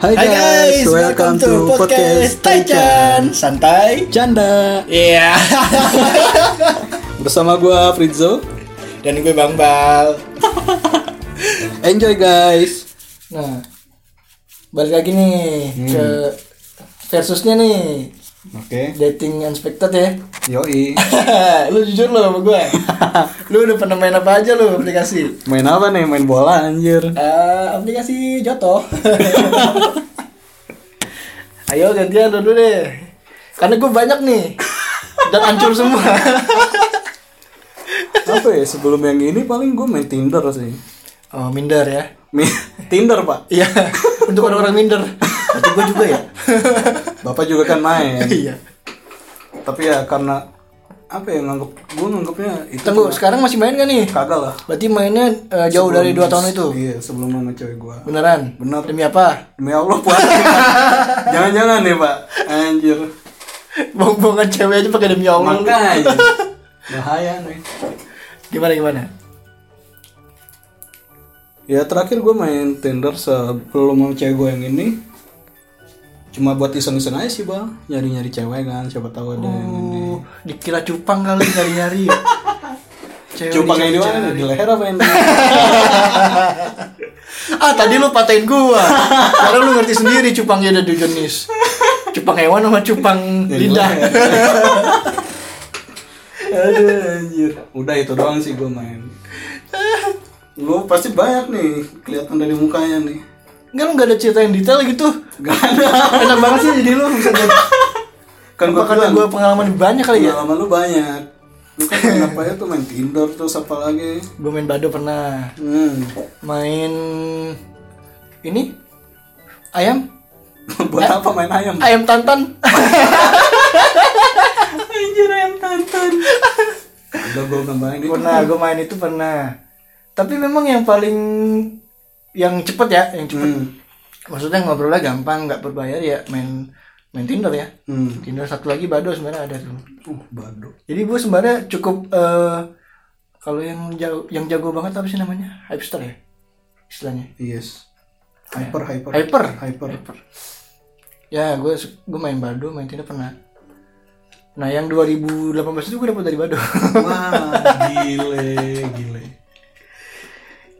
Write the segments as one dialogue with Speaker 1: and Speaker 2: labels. Speaker 1: Hai guys, welcome, to podcast Taichan
Speaker 2: Santai
Speaker 1: Canda
Speaker 2: Iya
Speaker 1: Bersama gua Fritzo
Speaker 2: Dan gue Bang Bal
Speaker 1: Enjoy guys
Speaker 2: Nah Balik lagi nih
Speaker 1: Hmm.
Speaker 2: Ke Versusnya nih
Speaker 1: Oke
Speaker 2: Dating unexpected ya
Speaker 1: Yoi
Speaker 2: Lu jujur lu sama gue Lu udah pernah main apa aja lu aplikasi
Speaker 1: Main apa nih? Main bola anjir
Speaker 2: Eh, Aplikasi Joto Ayo gantian dulu deh Karena gue banyak nih Dan hancur semua
Speaker 1: Apa ya sebelum yang ini paling gua main Tinder sih
Speaker 2: Oh minder ya
Speaker 1: Mi- Tinder pak
Speaker 2: Iya, untuk orang-orang minder. Berarti gue juga ya.
Speaker 1: Bapak juga kan main
Speaker 2: iya.
Speaker 1: Tapi ya karena Apa ya nganggep Gua nganggepnya itu
Speaker 2: Tunggu, sekarang masih main gak nih?
Speaker 1: Kagak lah
Speaker 2: Berarti mainnya eh, jauh
Speaker 1: Sebelum-
Speaker 2: dari 2 tahun itu.
Speaker 1: Iya sebelum sama cewek gua
Speaker 2: Beneran?
Speaker 1: Bener.
Speaker 2: Demi apa?
Speaker 1: Demi Allah puasa Jangan-jangan nih pak Anjir
Speaker 2: Bohong-bohongan cewek aja pakai demi Allah.
Speaker 1: Makanya Oh. Bahaya nih
Speaker 2: Gimana gimana?
Speaker 1: Ya terakhir gue main Tinder sebelum sama cewek gue yang ini Cuma buat iseng-iseng aja sih bang Nyari-nyari cewek kan siapa tahu ada yang ini
Speaker 2: Uh, dikira cupang kali nyari-nyari. Cewek
Speaker 1: Cuma kayak di
Speaker 2: dicari-cari.
Speaker 1: mana nih? Di leher apa yang di-
Speaker 2: Ah, tadi lu patahin gua. Sekarang lu ngerti sendiri cupangnya ada dua jenis. Cupang hewan sama cupang
Speaker 1: Ya, di
Speaker 2: lidah.
Speaker 1: leher. Aduh anjir Udah itu doang sih gue main Lu pasti banyak nih kelihatan dari mukanya nih
Speaker 2: Enggak lu enggak ada cerita yang detail gitu.
Speaker 1: Gak ada
Speaker 2: Enak banget sih jadi lu bisa jadi
Speaker 1: Kan gue
Speaker 2: karena
Speaker 1: bilang
Speaker 2: gue pengalaman banyak kali ya
Speaker 1: Pengalaman lu banyak Lu kan kenapa ya tuh main Tinder terus apa lagi
Speaker 2: Gue main bado pernah
Speaker 1: Hmm
Speaker 2: Main Ini Ayam
Speaker 1: Buat apa main ayam?
Speaker 2: Ayam tantan
Speaker 1: Anjir ayam tantan. Udah gue nambahin itu.
Speaker 2: Pernah gue main itu pernah Tapi memang yang paling Yang cepet ya Yang cepet
Speaker 1: Hmm.
Speaker 2: Maksudnya ngobrolnya gampang nggak berbayar ya Main Main Tinder ya
Speaker 1: Hmm.
Speaker 2: Tinder satu lagi bado sebenarnya ada tuh
Speaker 1: Uh, baduk.
Speaker 2: Jadi gue sebenarnya cukup eh kalau yang jago, yang jago banget apa sih namanya? Hypester ya istilahnya.
Speaker 1: Yes. Hyper, hyper.
Speaker 2: Hyper.
Speaker 1: Hyper.
Speaker 2: Ya, gue gue main Bado, main Tinder pernah. Nah, yang 2018 itu gue dapet dari Bado.
Speaker 1: Wah, gile, gile.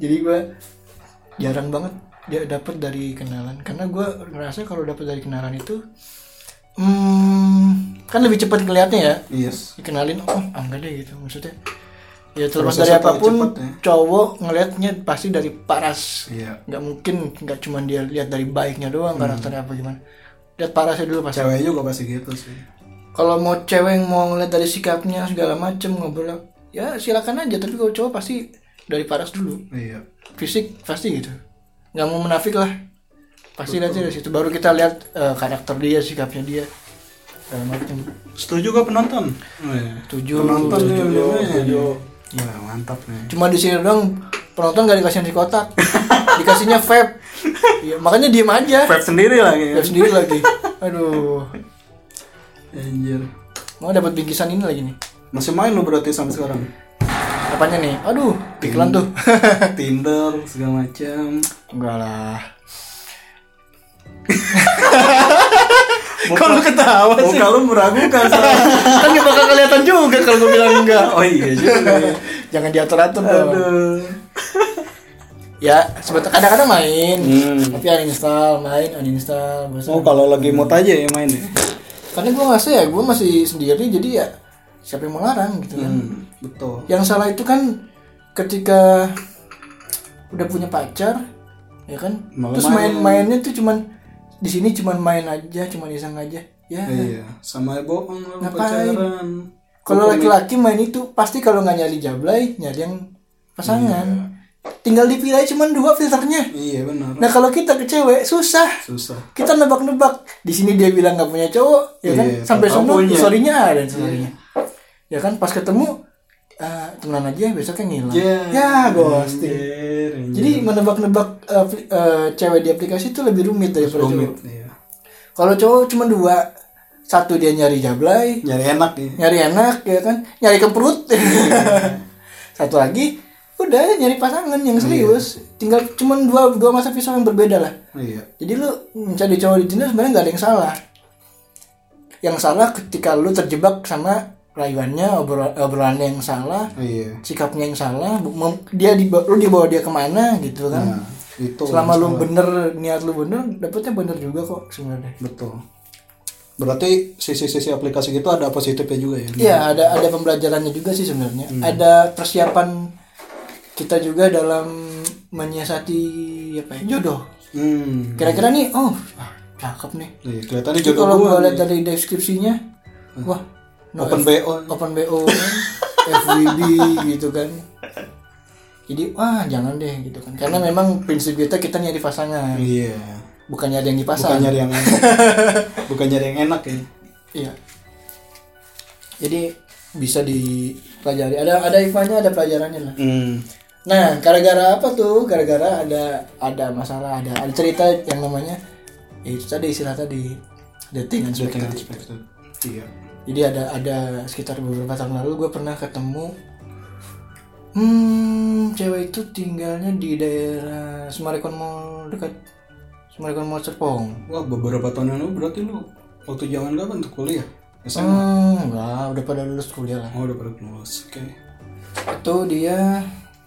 Speaker 2: Jadi gue jarang banget dia dapet dari kenalan karena gue ngerasa kalau dapet dari kenalan itu hmm, kan lebih cepat kelihatnya ya
Speaker 1: Yes.
Speaker 2: dikenalin oh ah, enggak deh gitu maksudnya ya terlepas
Speaker 1: Prosesnya
Speaker 2: dari
Speaker 1: paling
Speaker 2: apapun
Speaker 1: cepet ya.
Speaker 2: cowok ngelihatnya pasti dari paras
Speaker 1: Iya. Hmm.
Speaker 2: nggak mungkin nggak cuma dia lihat dari baiknya doang karakternya apa gimana lihat parasnya dulu pasti
Speaker 1: Cewek juga pasti gitu sih.
Speaker 2: kalau mau cewek yang mau ngeliat dari sikapnya segala macem ngobrol ya silakan aja tapi kalau cowok pasti dari paras dulu
Speaker 1: Iya.
Speaker 2: fisik pasti gitu nggak mau menafik lah pasti lihatnya dari situ baru kita lihat eh, karakter dia sikapnya dia segala macem
Speaker 1: Setuju gak penonton? Iya.
Speaker 2: tujuh
Speaker 1: Penonton nih,
Speaker 2: tujuh,
Speaker 1: yang namanya.
Speaker 2: tujuh.
Speaker 1: Wah, mantap nih.
Speaker 2: cuma di sini doang penonton gak dikasih nasi kotak dikasihnya vape Iya, makanya diem aja
Speaker 1: Pep sendiri lagi ya.
Speaker 2: vape sendiri lagi aduh
Speaker 1: Anjir.
Speaker 2: mau dapat bingkisan ini lagi nih
Speaker 1: Masih main lu berarti sampai sekarang?
Speaker 2: apanya nih aduh iklan tuh
Speaker 1: Tinder segala macam.
Speaker 2: enggak lah kalau ketawa sih
Speaker 1: Muka lu meragukan Sal.
Speaker 2: kan gak bakal kelihatan juga kalau gue bilang enggak
Speaker 1: Oh iya juga. ya.
Speaker 2: jangan diatur atur dong
Speaker 1: Aduh.
Speaker 2: ya sebetulnya kadang-kadang main
Speaker 1: Hmm.
Speaker 2: tapi uninstall main uninstall bosan.
Speaker 1: Oh kalau lagi mood aja ya main ya.
Speaker 2: karena gue ngerasa ya gue masih sendiri jadi ya siapa yang mau larang gitu kan
Speaker 1: Hmm, betul.
Speaker 2: yang salah itu kan ketika udah punya pacar ya kan
Speaker 1: Malah
Speaker 2: terus
Speaker 1: main.
Speaker 2: main-mainnya tuh cuman di sini cuman main aja cuman iseng aja ya
Speaker 1: Iya, sama bohong lu
Speaker 2: Ngapain?
Speaker 1: pacaran.
Speaker 2: kalau
Speaker 1: Kompromi.
Speaker 2: laki-laki main itu pasti kalau nggak nyari jablay nyari yang pasangan tinggal dipilih cuman dua filternya
Speaker 1: Iya benar.
Speaker 2: nah kalau kita ke cewek susah
Speaker 1: Susah.
Speaker 2: kita nebak-nebak di sini dia bilang nggak punya cowok ya kan
Speaker 1: Iya,
Speaker 2: sampai
Speaker 1: tahu-tahu
Speaker 2: sono
Speaker 1: punya.
Speaker 2: sorrynya ada sorrynya ya kan pas ketemu eh, temenan aja besoknya ngilang
Speaker 1: Iya.
Speaker 2: ya ghosting
Speaker 1: anjir, anjir.
Speaker 2: jadi menebak-nebak eh, apli- eh, cewek di aplikasi itu lebih rumit daripada
Speaker 1: rumit
Speaker 2: cowok
Speaker 1: iya.
Speaker 2: kalau cowok cuma dua satu dia nyari jablay
Speaker 1: Nyari enak ya.
Speaker 2: nyari enak ya kan nyari ke perut satu lagi udah nyari pasangan yang serius tinggal cuman dua dua masa pisau yang berbeda lah
Speaker 1: iya
Speaker 2: jadi lu mencari cowok di Tinder sebenarnya nggak ada yang salah yang salah ketika lu terjebak sama rayuannya obrol- obrolannya yang salah
Speaker 1: iya
Speaker 2: sikapnya yang salah bu- mem- dia diba- lu dibawa dia kemana gitu kan
Speaker 1: nah, itu
Speaker 2: selama lu bener niat lu bener dapetnya bener juga kok sebenarnya
Speaker 1: betul berarti sisi-sisi aplikasi gitu ada positifnya juga ya
Speaker 2: Iya Hmm. ada ada pembelajarannya juga sih sebenarnya. Ada persiapan kita juga dalam menyiasati apa ya jodoh.
Speaker 1: hmm
Speaker 2: Kira-kira nih oh ah, cakep nih.
Speaker 1: iya kelihatannya
Speaker 2: Jadi
Speaker 1: jodoh
Speaker 2: kalau
Speaker 1: gua
Speaker 2: gue lihat
Speaker 1: nih.
Speaker 2: dari deskripsinya, wah no
Speaker 1: open
Speaker 2: F-
Speaker 1: bo
Speaker 2: Hmm. open bo, kan, FWB gitu kan. Jadi wah jangan deh gitu kan. Karena memang prinsip kita kita nyari pasangan,
Speaker 1: iya
Speaker 2: bukan nyari yang
Speaker 1: bukan
Speaker 2: dipasang.
Speaker 1: nyari yang enak bukan nyari yang enak ya
Speaker 2: Iya. Jadi bisa dipelajari. Ada ada ifannya ada pelajarannya lah.
Speaker 1: hmm
Speaker 2: Nah, gara-gara apa tuh? Gara-gara ada ada masalah, ada ada cerita yang namanya ya itu tadi istilah tadi dating and
Speaker 1: dating
Speaker 2: expected.
Speaker 1: expected iya
Speaker 2: Jadi ada ada sekitar beberapa tahun lalu gue pernah ketemu hmm cewek itu tinggalnya di daerah Sumarekon Mall dekat Sumarekon Mall Serpong.
Speaker 1: wah beberapa tahun yang lalu berarti lu waktu zaman kapan tuh kuliah SMA
Speaker 2: Hmm, enggak, udah pada lulus kuliah lah.
Speaker 1: oh udah pada lulus oke
Speaker 2: Itu dia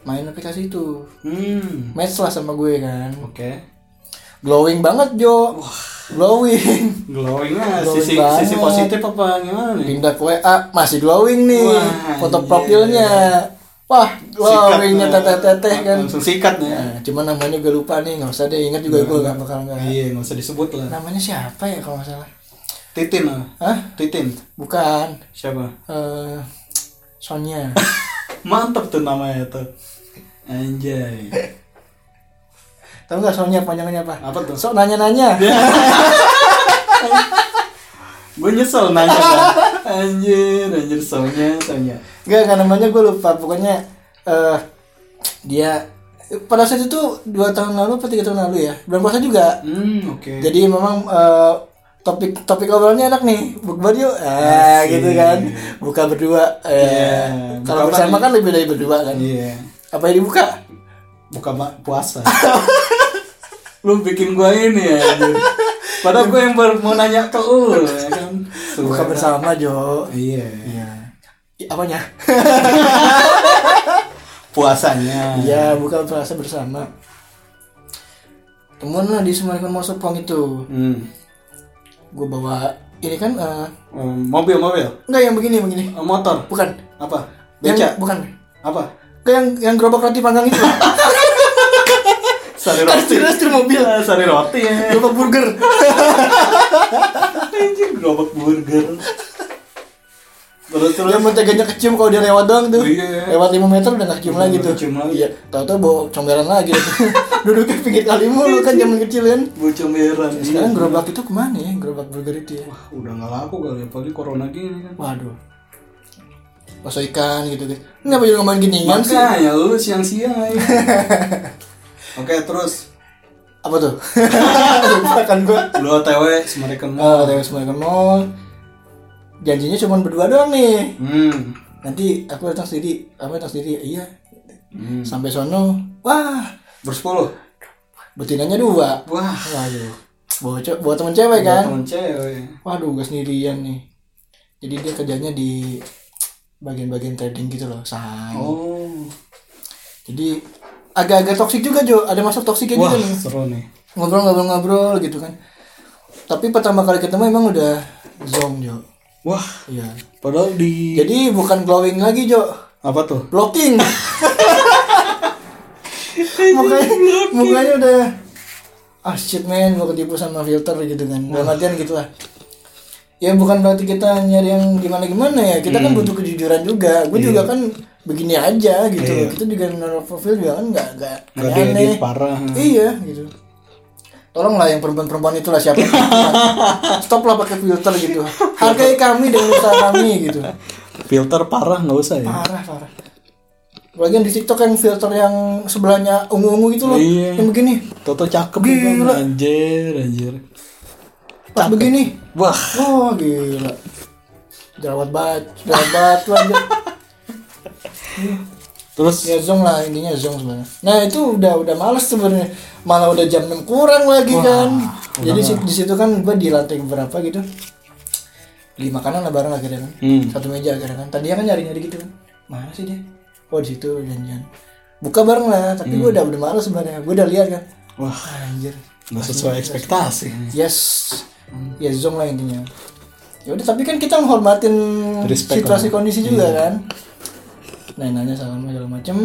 Speaker 2: main aplikasi itu.
Speaker 1: hmm
Speaker 2: Match lah sama gue kan.
Speaker 1: oke
Speaker 2: Glowing banget, Jo. Glowing.
Speaker 1: glowing lah
Speaker 2: Glowing
Speaker 1: sisi
Speaker 2: banget.
Speaker 1: sisi positif apa gimana nih
Speaker 2: Pindah ke WA masih glowing nih
Speaker 1: Wah,
Speaker 2: foto
Speaker 1: iya.
Speaker 2: profilnya. Wah, glowingnya
Speaker 1: Sikat,
Speaker 2: teteh teteh
Speaker 1: nah,
Speaker 2: kan.
Speaker 1: langsung sikat ya
Speaker 2: Nah, cuman namanya gue lupa nih, nggak usah deh ingat juga gue nggak bakal nggak.
Speaker 1: iya nggak usah disebut lah
Speaker 2: Namanya siapa ya kalau nggak salah?
Speaker 1: titin lah
Speaker 2: Hah?
Speaker 1: titin
Speaker 2: Bukan.
Speaker 1: siapa
Speaker 2: Eh, Sonya.
Speaker 1: mantep tuh namanya tuh anjay
Speaker 2: Tahu nggak Sonya panjangnya apa?
Speaker 1: apa tuh
Speaker 2: Sok
Speaker 1: Iya,
Speaker 2: nanya-nanya.
Speaker 1: gue nyesel nanya kan anjir anjir soalnya soalnya
Speaker 2: Gak, gak namanya gue lupa. Pokoknya eh dia pada saat itu dua tahun lalu atau tiga tahun lalu ya bulan puasa juga
Speaker 1: hmm oke
Speaker 2: Jadi memang eh, topik topik obrolannya enak nih, bukber yuk, eh, gitu kan, buka berdua. Eh,
Speaker 1: Iya,
Speaker 2: Kalau
Speaker 1: buka
Speaker 2: bersama kan lebih dari berdua kan.
Speaker 1: iya
Speaker 2: Apa yang dibuka?
Speaker 1: buka ma- puasa lu bikin gue ini ya anjir. padahal gue yang baru mau nanya ke lu ya kan
Speaker 2: Buka
Speaker 1: Suara.
Speaker 2: bersama Jo.
Speaker 1: iya
Speaker 2: Iya. I- Apanya?
Speaker 1: puasanya
Speaker 2: Iya, buka puasa bersama. Temuan lah di Sumarekon Mall Serpong itu,
Speaker 1: hmm.
Speaker 2: gue bawa ini kan, eh,
Speaker 1: Um, mobil mobil
Speaker 2: enggak yang begini begini,
Speaker 1: Uh, motor
Speaker 2: bukan?
Speaker 1: apa
Speaker 2: Yang,
Speaker 1: beca
Speaker 2: bukan?
Speaker 1: apa
Speaker 2: Enggak yang yang gerobak roti panggang itu.
Speaker 1: sari
Speaker 2: Kan
Speaker 1: roti
Speaker 2: setir mobil,
Speaker 1: Ah, sari roti ya
Speaker 2: gerobak burger.
Speaker 1: anjir gerobak burger terus terus
Speaker 2: Yang menteganya kecium kalau dia lewat doang tuh.
Speaker 1: Iya.
Speaker 2: Lewat 5 meter udah gak kecium
Speaker 1: Udah
Speaker 2: lagi
Speaker 1: nggak
Speaker 2: tuh.
Speaker 1: kecium lagi.
Speaker 2: Iya. Tahu-tahu bawa comberan lagi. Duduknya pinggir kali mulu kan zaman kecil kan.
Speaker 1: bocah merah
Speaker 2: Sekarang gerobak itu kemana ya? Gerobak burger itu ya.
Speaker 1: Wah, udah nggak laku kali apalagi corona gini kan
Speaker 2: Waduh. Bakso ikan gitu gitu. Ini apa juga ngomongin ginian sih?
Speaker 1: makanya lu siang-siang aja oke terus
Speaker 2: Apa tuh? Lupa kan gua.
Speaker 1: lu otw Sumarekon Mall.
Speaker 2: Oh, Terus mereka mall. Janjinya cuma berdua doang nih.
Speaker 1: hmm
Speaker 2: Nanti aku datang sendiri, kamu datang sendiri. Iya.
Speaker 1: hmm
Speaker 2: Sampai sono, wah,
Speaker 1: bersepuluh
Speaker 2: betinanya dua.
Speaker 1: wah
Speaker 2: Waduh, bawa, ce- bawa temen
Speaker 1: ada
Speaker 2: cewek kan?
Speaker 1: temen cewek
Speaker 2: Waduh, gak sendirian nih. Jadi dia kerjanya di bagian-bagian trading gitu loh, saham.
Speaker 1: oh
Speaker 2: Jadi agak-agak toksik juga Jo, ada masuk toksiknya
Speaker 1: wah
Speaker 2: juga nih.
Speaker 1: seru nih
Speaker 2: Ngobrol-ngobrol-ngobrol gitu kan. Tapi pertama kali ketemu emang udah zonk Jo.
Speaker 1: wah
Speaker 2: Iya.
Speaker 1: padahal di
Speaker 2: Jadi bukan glowing lagi Jo,
Speaker 1: apa tuh
Speaker 2: blocking. mukanya, mukanya udah ah shit man gua ketipu sama filter gitu kan dalam artian gitu lah ya bukan berarti kita nyari yang gimana gimana ya kita
Speaker 1: Hmm.
Speaker 2: kan butuh kejujuran juga gue
Speaker 1: Iya.
Speaker 2: juga kan begini aja gitu kita juga menaruh profil juga kan nggak nggak
Speaker 1: nggak
Speaker 2: aneh-aneh.
Speaker 1: diedit parah
Speaker 2: iya gitu tolonglah yang perempuan-perempuan itulah siapa stoplah pakai filter gitu hargai kami dengan usaha kami gitu
Speaker 1: filter parah nggak usah ya
Speaker 2: parah parah Lagian di TikTok yang filter yang sebelahnya ungu-ungu gitu loh,
Speaker 1: Iya.
Speaker 2: yang begini,
Speaker 1: Toto cakep
Speaker 2: Gila.
Speaker 1: juga anjir anjir
Speaker 2: pas begini,
Speaker 1: wah
Speaker 2: Oh gila Jerawat bat Jerawat batu aja
Speaker 1: terus
Speaker 2: ya zong lah intinya zong sebenarnya nah itu udah udah males sebenarnya malah udah jam 6 kurang lagi kan jadi si- di situ kan gue di lantai berapa gitu beli makanan lah bareng akhirnya kan
Speaker 1: Hmm.
Speaker 2: satu meja akhirnya kan tadi kan nyari nyari gitu kan mana sih dia oh di situ janjian buka bareng lah tapi
Speaker 1: Hmm.
Speaker 2: gue udah udah males sebenarnya gue udah lihat kan
Speaker 1: wah
Speaker 2: anjir
Speaker 1: nggak sesuai ekspektasi
Speaker 2: yes ya zong lah intinya ya udah tapi kan kita menghormatin
Speaker 1: Respect
Speaker 2: situasi kondisi juga kan nanya-nanya salam segala macem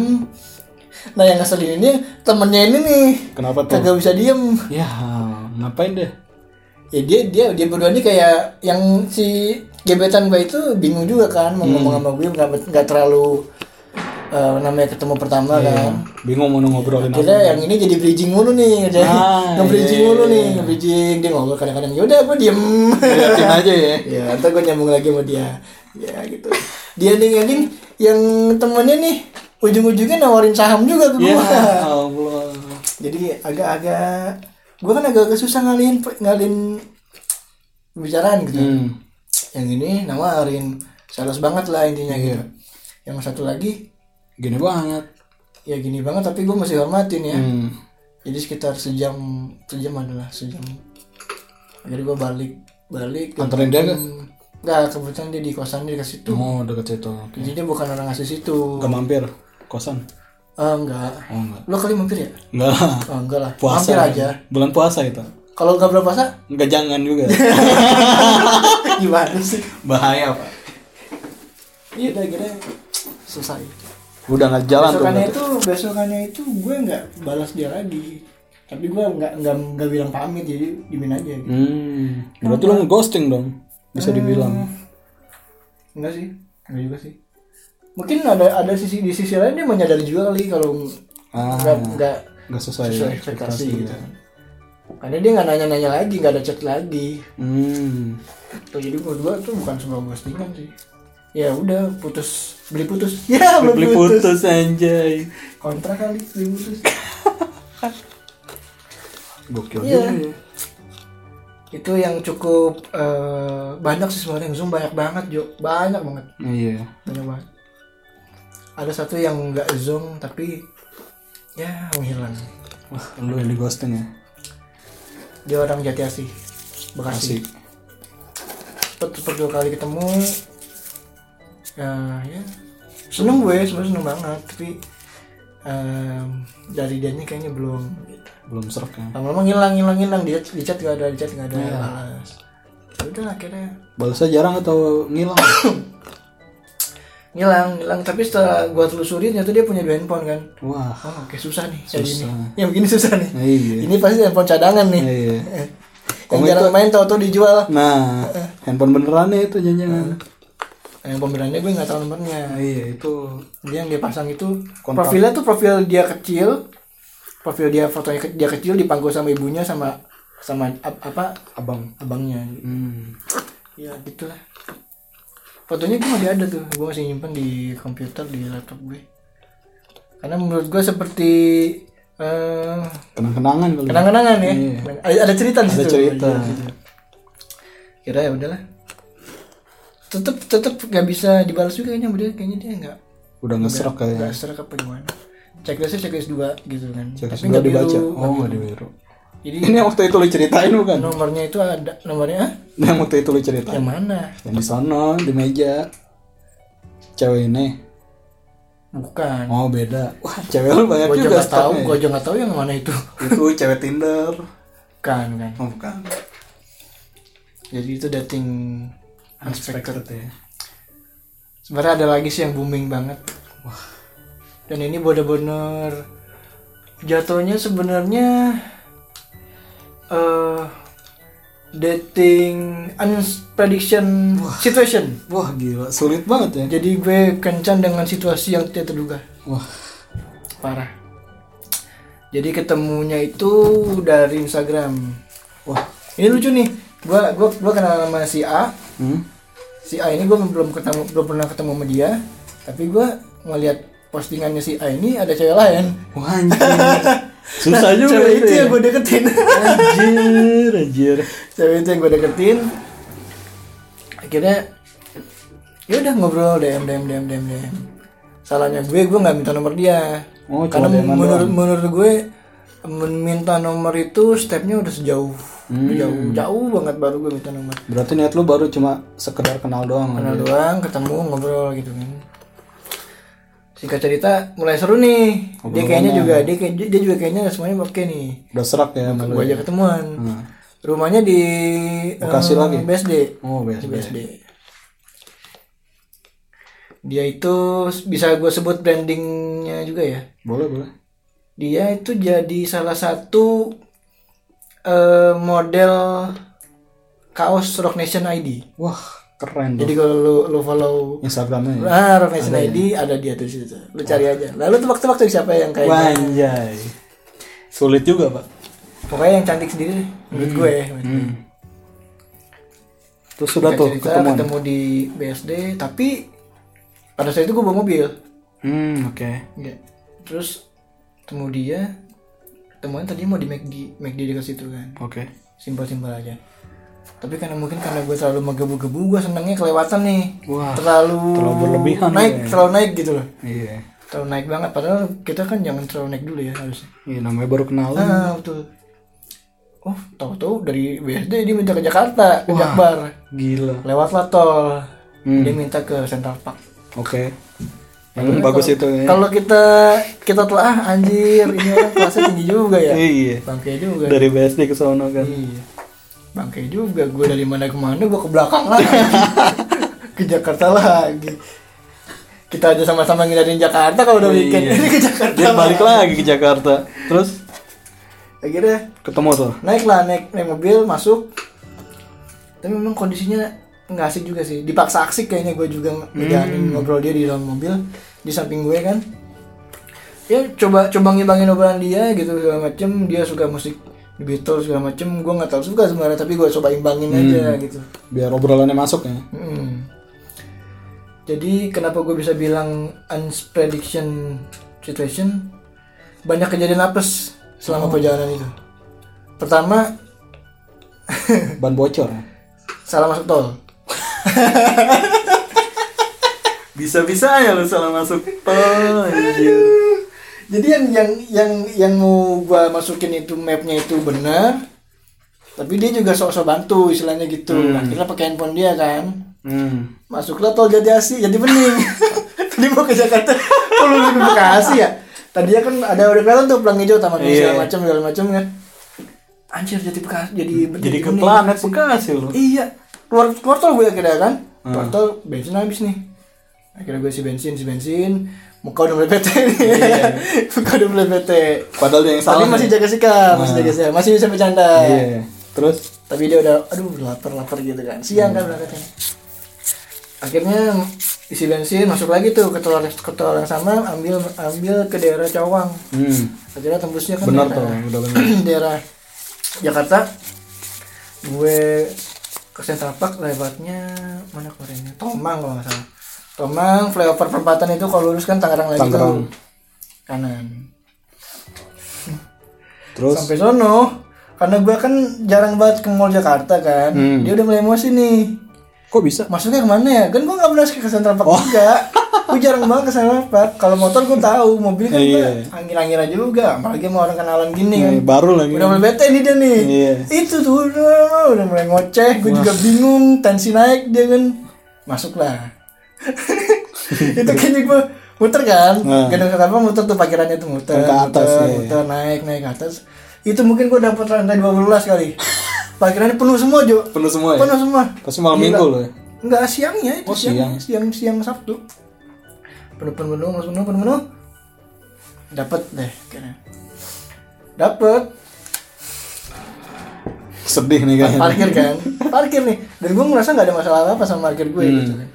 Speaker 2: nah yang ngeselin ini temennya ini nih
Speaker 1: kenapa tuh
Speaker 2: kagak bisa diem
Speaker 1: ya ngapain deh
Speaker 2: ya dia dia dia berdua ini kayak yang si gebetan gue itu bingung juga kan mau ngomong sama gue nggak nggak terlalu eh, namanya ketemu pertama kan
Speaker 1: bingung mau ngobrolin apa
Speaker 2: Akhirnya yang ini jadi bridging mulu nih, jadi
Speaker 1: Ah,
Speaker 2: nge-bridging
Speaker 1: iya,
Speaker 2: mulu
Speaker 1: iya,
Speaker 2: nih, nge-bridging dia ngobrol kadang-kadang ya udah gue diem.
Speaker 1: Liatin aja ya
Speaker 2: ya, ntar gue nyambung lagi sama dia. Ya gitu. Dia nih ending yang temennya nih ujung-ujungnya nawarin saham juga ke
Speaker 1: ya
Speaker 2: gue.
Speaker 1: Allah
Speaker 2: Jadi agak-agak gue kan agak-agak susah ngalihin ngalihin pembicaraan gitu.
Speaker 1: hmm.
Speaker 2: Yang ini nawarin sales banget lah intinya
Speaker 1: Iya.
Speaker 2: gitu. Yang satu lagi
Speaker 1: gini banget
Speaker 2: ya gini banget tapi gue masih hormatin ya.
Speaker 1: hmm.
Speaker 2: jadi sekitar sejam sejam adalah sejam jadi gue balik balik
Speaker 1: Anterin dia nggak?
Speaker 2: nggak kebetulan dia di kosan dia dikasih situ
Speaker 1: mau deket situ oke
Speaker 2: jadi dia bukan orang ngasih situ
Speaker 1: Nggak mampir kosan
Speaker 2: Ah, enggak
Speaker 1: oh enggak
Speaker 2: lo kali mampir ya
Speaker 1: enggak lah.
Speaker 2: oh, enggak lah
Speaker 1: puasa
Speaker 2: mampir aja
Speaker 1: bulan puasa itu
Speaker 2: kalau nggak berpuasa
Speaker 1: enggak jangan juga
Speaker 2: gimana sih
Speaker 1: bahaya pak
Speaker 2: iya udah akhirnya selesai
Speaker 1: udah nggak jalan tuh
Speaker 2: besokannya
Speaker 1: berarti.
Speaker 2: itu besokannya itu gue nggak balas dia lagi tapi gue nggak nggak nggak bilang pamit jadi dimin aja gitu.
Speaker 1: hmm. berarti lo ngeghosting dong bisa dibilang
Speaker 2: Enggak sih, enggak juga sih. Mungkin ada ada sisi di sisi lain dia menyadari juga kali kalau
Speaker 1: Ah.
Speaker 2: enggak enggak
Speaker 1: nggak sesuai, ya.
Speaker 2: sesuai ekspektasi gitu. Karena dia nggak nanya-nanya lagi, nggak ada chat lagi.
Speaker 1: hmm.
Speaker 2: Tuh jadi menurut gua tuh bukan sebuah ghostingan sih. Ya udah putus, beli putus. Ya beli,
Speaker 1: beli
Speaker 2: putus.
Speaker 1: putus anjay
Speaker 2: Kontrak kali beli putus.
Speaker 1: gokil
Speaker 2: Iya.
Speaker 1: juga ya.
Speaker 2: Itu yang cukup eh, banyak sih sebenarnya yang zoom banyak banget Jo, banyak banget.
Speaker 1: iya
Speaker 2: banyak banget ada satu yang nggak zoom tapi ya menghilang
Speaker 1: wah lu yang di ghosting ya
Speaker 2: dia orang jati asih
Speaker 1: asik
Speaker 2: bekasi cepet cepet dua kali ketemu ya, ya. seneng gue sebenarnya seneng banget tapi em, dari dia kayaknya belum gitu.
Speaker 1: belum serak ya
Speaker 2: lama-lama ngilang ngilang ngilang dia di chat gak ada di chat gak ada balas ya udah akhirnya
Speaker 1: balasnya jarang atau ngilang
Speaker 2: ngilang ngilang tapi setelah gue telusuri ternyata dia punya dua handphone kan
Speaker 1: wah
Speaker 2: oh oke susah nih kayak gini
Speaker 1: Susah.
Speaker 2: ya begini susah nih
Speaker 1: iya
Speaker 2: Ini pasti handphone cadangan nih.
Speaker 1: iya
Speaker 2: Yang jarang main tau-tau dijual.
Speaker 1: nah handphone beneran ya itu jangan
Speaker 2: Yang pembeliannya gue nggak tahu nomornya.
Speaker 1: iya itu
Speaker 2: Dia yang dia pasang itu
Speaker 1: Kontak.
Speaker 2: profilnya tuh profil dia kecil, profil dia fotonya ke- dia kecil dipanggil sama ibunya sama sama ap- apa
Speaker 1: abang
Speaker 2: abangnya.
Speaker 1: hmm.
Speaker 2: Ya gitulah. Fotonya gue masih ada tuh, gue masih nyimpen di komputer di laptop gue. Karena menurut gue seperti eh,
Speaker 1: kenang-kenangan kali
Speaker 2: kenang-kenangan Iya, ya. Ada- Ada cerita di
Speaker 1: Iya. ada
Speaker 2: situ. gitu.
Speaker 1: cerita
Speaker 2: kira ya udahlah tetep tetep nggak bisa dibalas juga kayaknya sama dia kayaknya dia nggak
Speaker 1: udah ngeserak kayaknya
Speaker 2: nggak serak apa gimana checklistnya checklist dua gitu kan
Speaker 1: Checklist dua
Speaker 2: Tapi nggak biru.
Speaker 1: dibaca. Oh, nggak dibiru.
Speaker 2: jadi
Speaker 1: Ini yang waktu itu lo ceritain bukan?
Speaker 2: nomornya itu ada nomornya ah,
Speaker 1: Ini yang waktu itu lo ceritain.
Speaker 2: yang mana
Speaker 1: Yang di sono, di meja. Cewek ini.
Speaker 2: bukan
Speaker 1: Oh, beda. Wah, cewek lo banyak
Speaker 2: gue juga
Speaker 1: juga
Speaker 2: nggak tahu
Speaker 1: stoknya. ya.
Speaker 2: gue juga nggak tahu yang mana itu
Speaker 1: Itu cewek Tinder.
Speaker 2: bukan kan
Speaker 1: Oh, bukan.
Speaker 2: jadi itu dating
Speaker 1: Unexpected ya.
Speaker 2: sebenarnya ada lagi sih yang booming banget dan ini bener-bener jatuhnya sebenarnya eh dating unprediction situation
Speaker 1: Wah, gila. Sulit banget ya.
Speaker 2: jadi gue kencan dengan situasi yang tidak terduga
Speaker 1: Wah,
Speaker 2: parah jadi ketemunya itu dari Instagram
Speaker 1: wah.
Speaker 2: ini lucu nih gua gua gua kenal sama si A
Speaker 1: Hmm?
Speaker 2: si A ini gue belum ketemu belum pernah ketemu sama dia tapi gue ngelihat postingannya si A ini ada cewek lain Nah,
Speaker 1: Wah, anjir. Susah juga
Speaker 2: cewek itu
Speaker 1: itu ya.
Speaker 2: yang gue deketin
Speaker 1: Anjir, anjir.
Speaker 2: cewek itu yang gue deketin akhirnya ya udah ngobrol dm dm dm dm dm salahnya gue gue nggak minta nomor dia
Speaker 1: Oh, cuma
Speaker 2: karena
Speaker 1: DM-an
Speaker 2: menurut menurut gue meminta nomor itu stepnya udah sejauh
Speaker 1: Hmm.
Speaker 2: udah jauh jauh banget baru gue minta nomor
Speaker 1: Berarti niat lu baru cuma sekedar kenal doang. kan?
Speaker 2: kenal doang ketemu ngobrol gitu kan singkat cerita mulai seru nih dia kayaknya juga dia, kayak- dia juga kayaknya semuanya oke nih
Speaker 1: Udah serak ya Nah. sama lu.
Speaker 2: gue aja ketemuan rumahnya di
Speaker 1: Hmm. Bekasi
Speaker 2: eh,
Speaker 1: lagi?
Speaker 2: BSD
Speaker 1: Oh,
Speaker 2: Di
Speaker 1: biasa.
Speaker 2: BSD dia itu bisa gue sebut brandingnya juga ya
Speaker 1: Boleh, boleh.
Speaker 2: dia itu jadi salah satu eh, model kaos Rock Nation ID
Speaker 1: Wah, keren tuh.
Speaker 2: jadi kalau lu, lu follow
Speaker 1: Instagramnya. ya?
Speaker 2: ah, Rock Nation ID ada dia tuh di situ lu cari aja lalu tebak-tebak tuh siapa yang kayak
Speaker 1: Wanjay. Sulit juga, Pak.
Speaker 2: pokoknya yang cantik sendiri deh, menurut
Speaker 1: Hmm.
Speaker 2: gue ya.
Speaker 1: Terus sudah tuh
Speaker 2: cerita ketemu,
Speaker 1: ketemuan.
Speaker 2: di BSD tapi pada saat itu gue bawa mobil
Speaker 1: Hmm, oke.
Speaker 2: Iya. terus ketemu dia temuan tadi mau di McD McD dekat situ kan
Speaker 1: Oke.
Speaker 2: simpel-simpel aja tapi karena mungkin karena gue terlalu menggebu-gebu gue senangnya kelewatan nih
Speaker 1: Wah,
Speaker 2: terlalu
Speaker 1: terlalu berlebihan
Speaker 2: naik
Speaker 1: ya.
Speaker 2: terlalu naik gitu loh
Speaker 1: Iya.
Speaker 2: terlalu naik banget padahal kita kan jangan terlalu naik dulu ya harusnya
Speaker 1: Iya, namanya baru kenal.
Speaker 2: ah betul oh tahu-tahu dari BSD dia minta ke Jakarta ke Jakbar
Speaker 1: Gila.
Speaker 2: lewatlah tol
Speaker 1: Hmm.
Speaker 2: dia minta ke Central Park
Speaker 1: Oke. Yang bagus itu ya.
Speaker 2: kalau kita kita telah ah, anjir ini orang kelasnya tinggi juga ya
Speaker 1: Iya.
Speaker 2: bangke juga
Speaker 1: Dari BSD ke sono kan.
Speaker 2: iya bangke juga gue dari mana ke mana gue ke belakang lagi ke Jakarta lagi kita aja sama-sama ngindarin Jakarta kalau udah weekend
Speaker 1: Iya.
Speaker 2: ini Oh, ke Jakarta
Speaker 1: Dia balik lagi ke Jakarta. Terus
Speaker 2: akhirnya
Speaker 1: ketemu tuh.
Speaker 2: naik lah naik naik mobil masuk tapi memang kondisinya nggak asik juga sih dipaksa asik kayaknya gue juga ngejalanin ngobrol dia di dalam mobil di samping gue kan ya coba coba ngibangin obrolan dia gitu segala macem dia suka musik The Beatles segala macem gue nggak tahu suka sebenarnya tapi gue coba imbangin aja gitu
Speaker 1: Biar obrolannya masuk ya.
Speaker 2: Mm. Jadi kenapa gue bisa bilang unprediction situation banyak kejadian apes selama perjalanan itu. Pertama
Speaker 1: Ban bocor. ya?
Speaker 2: salah masuk tol.
Speaker 1: Bisa-bisa ya lu salah masuk Oh, iya. tol anjir.
Speaker 2: Jadi yang yang yang yang mau gue masukin itu mapnya itu benar, tapi dia juga sok-sok bantu istilahnya gitu. Akhirnya pakai handphone dia kan.
Speaker 1: Hmm.
Speaker 2: Masuklah tol jadi asi, jadi bening. Tadi mau ke Jakarta, kok lu ke Bekasi ya? Tadinya kan ada udah kelihatan tuh pelang hijau taman
Speaker 1: Iya.
Speaker 2: segala macam segala macam kan. Anjir jadi Bekasi, jadi bening,
Speaker 1: Jadi ke
Speaker 2: bening.
Speaker 1: planet Bekasi lu.
Speaker 2: Iya, keluar keluar tol gue akhirnya kan.
Speaker 1: Hmm.
Speaker 2: Keluar tol bensin habis nih. Akhirnya gue si bensin si bensin, muka udah mulai bete nih. muka udah mulai bete.
Speaker 1: Padahal dia yang Iya, salah.
Speaker 2: Tapi masih
Speaker 1: ya?
Speaker 2: jaga sikap, masih jaga sikap, masih bisa bercanda
Speaker 1: Iya. Terus
Speaker 2: tapi dia udah aduh lapar lapar gitu kan siang
Speaker 1: Hmm.
Speaker 2: kan berangkatnya akhirnya isi bensin masuk lagi tuh ke tol ke tol yang sama ambil ambil ke daerah Cawang
Speaker 1: hmm.
Speaker 2: akhirnya tembusnya kan
Speaker 1: Benar tuh,
Speaker 2: daerah,
Speaker 1: udah benar.
Speaker 2: daerah Jakarta gue ke Central Park lewatnya mana kemarinnya Tomang kalau nggak salah Tomang flyover perempatan itu kalau lurus kan Tangerang lagi
Speaker 1: Tangerang.
Speaker 2: tuh kanan
Speaker 1: Terus
Speaker 2: sampai sono karena gue kan jarang banget ke mall Jakarta kan
Speaker 1: Hmm.
Speaker 2: dia udah mulai emosi nih
Speaker 1: kok bisa?
Speaker 2: masuknya kemana ya kan gue nggak pernah ke Central Park
Speaker 1: Oh.
Speaker 2: juga gue jarang banget ke Central Park kalau motor gue tahu mobil kan
Speaker 1: Iya.
Speaker 2: gue angin-anginan juga apalagi sama orang kenalan gini kan
Speaker 1: Eh, baru lagi.
Speaker 2: udah mulai bete nih dia nih
Speaker 1: Iya.
Speaker 2: itu tuh udah, udah mulai ngoceh gue juga bingung tensi naik dia kan masuklah itu kayaknya gue muter kan
Speaker 1: Nah.
Speaker 2: gedung apa muter tuh parkirannya tuh
Speaker 1: Ke
Speaker 2: muter
Speaker 1: atas,
Speaker 2: muter,
Speaker 1: iya.
Speaker 2: muter, naik naik ke atas itu mungkin gue dapet lantai 12 kali parkirannya penuh semua Jo
Speaker 1: Penuh semua ya?
Speaker 2: penuh semua
Speaker 1: Pasti malam
Speaker 2: Gila.
Speaker 1: minggu lu ya?
Speaker 2: enggak siangnya itu
Speaker 1: Oh,
Speaker 2: siang, siang siang Sabtu penuh penuh penuh penuh penuh penuh penuh dapat deh kayaknya dapat
Speaker 1: Sedih nih kayaknya.
Speaker 2: parkir kan parkir nih dan gue ngerasa nggak ada masalah apa apa sama parkir gue gitu kan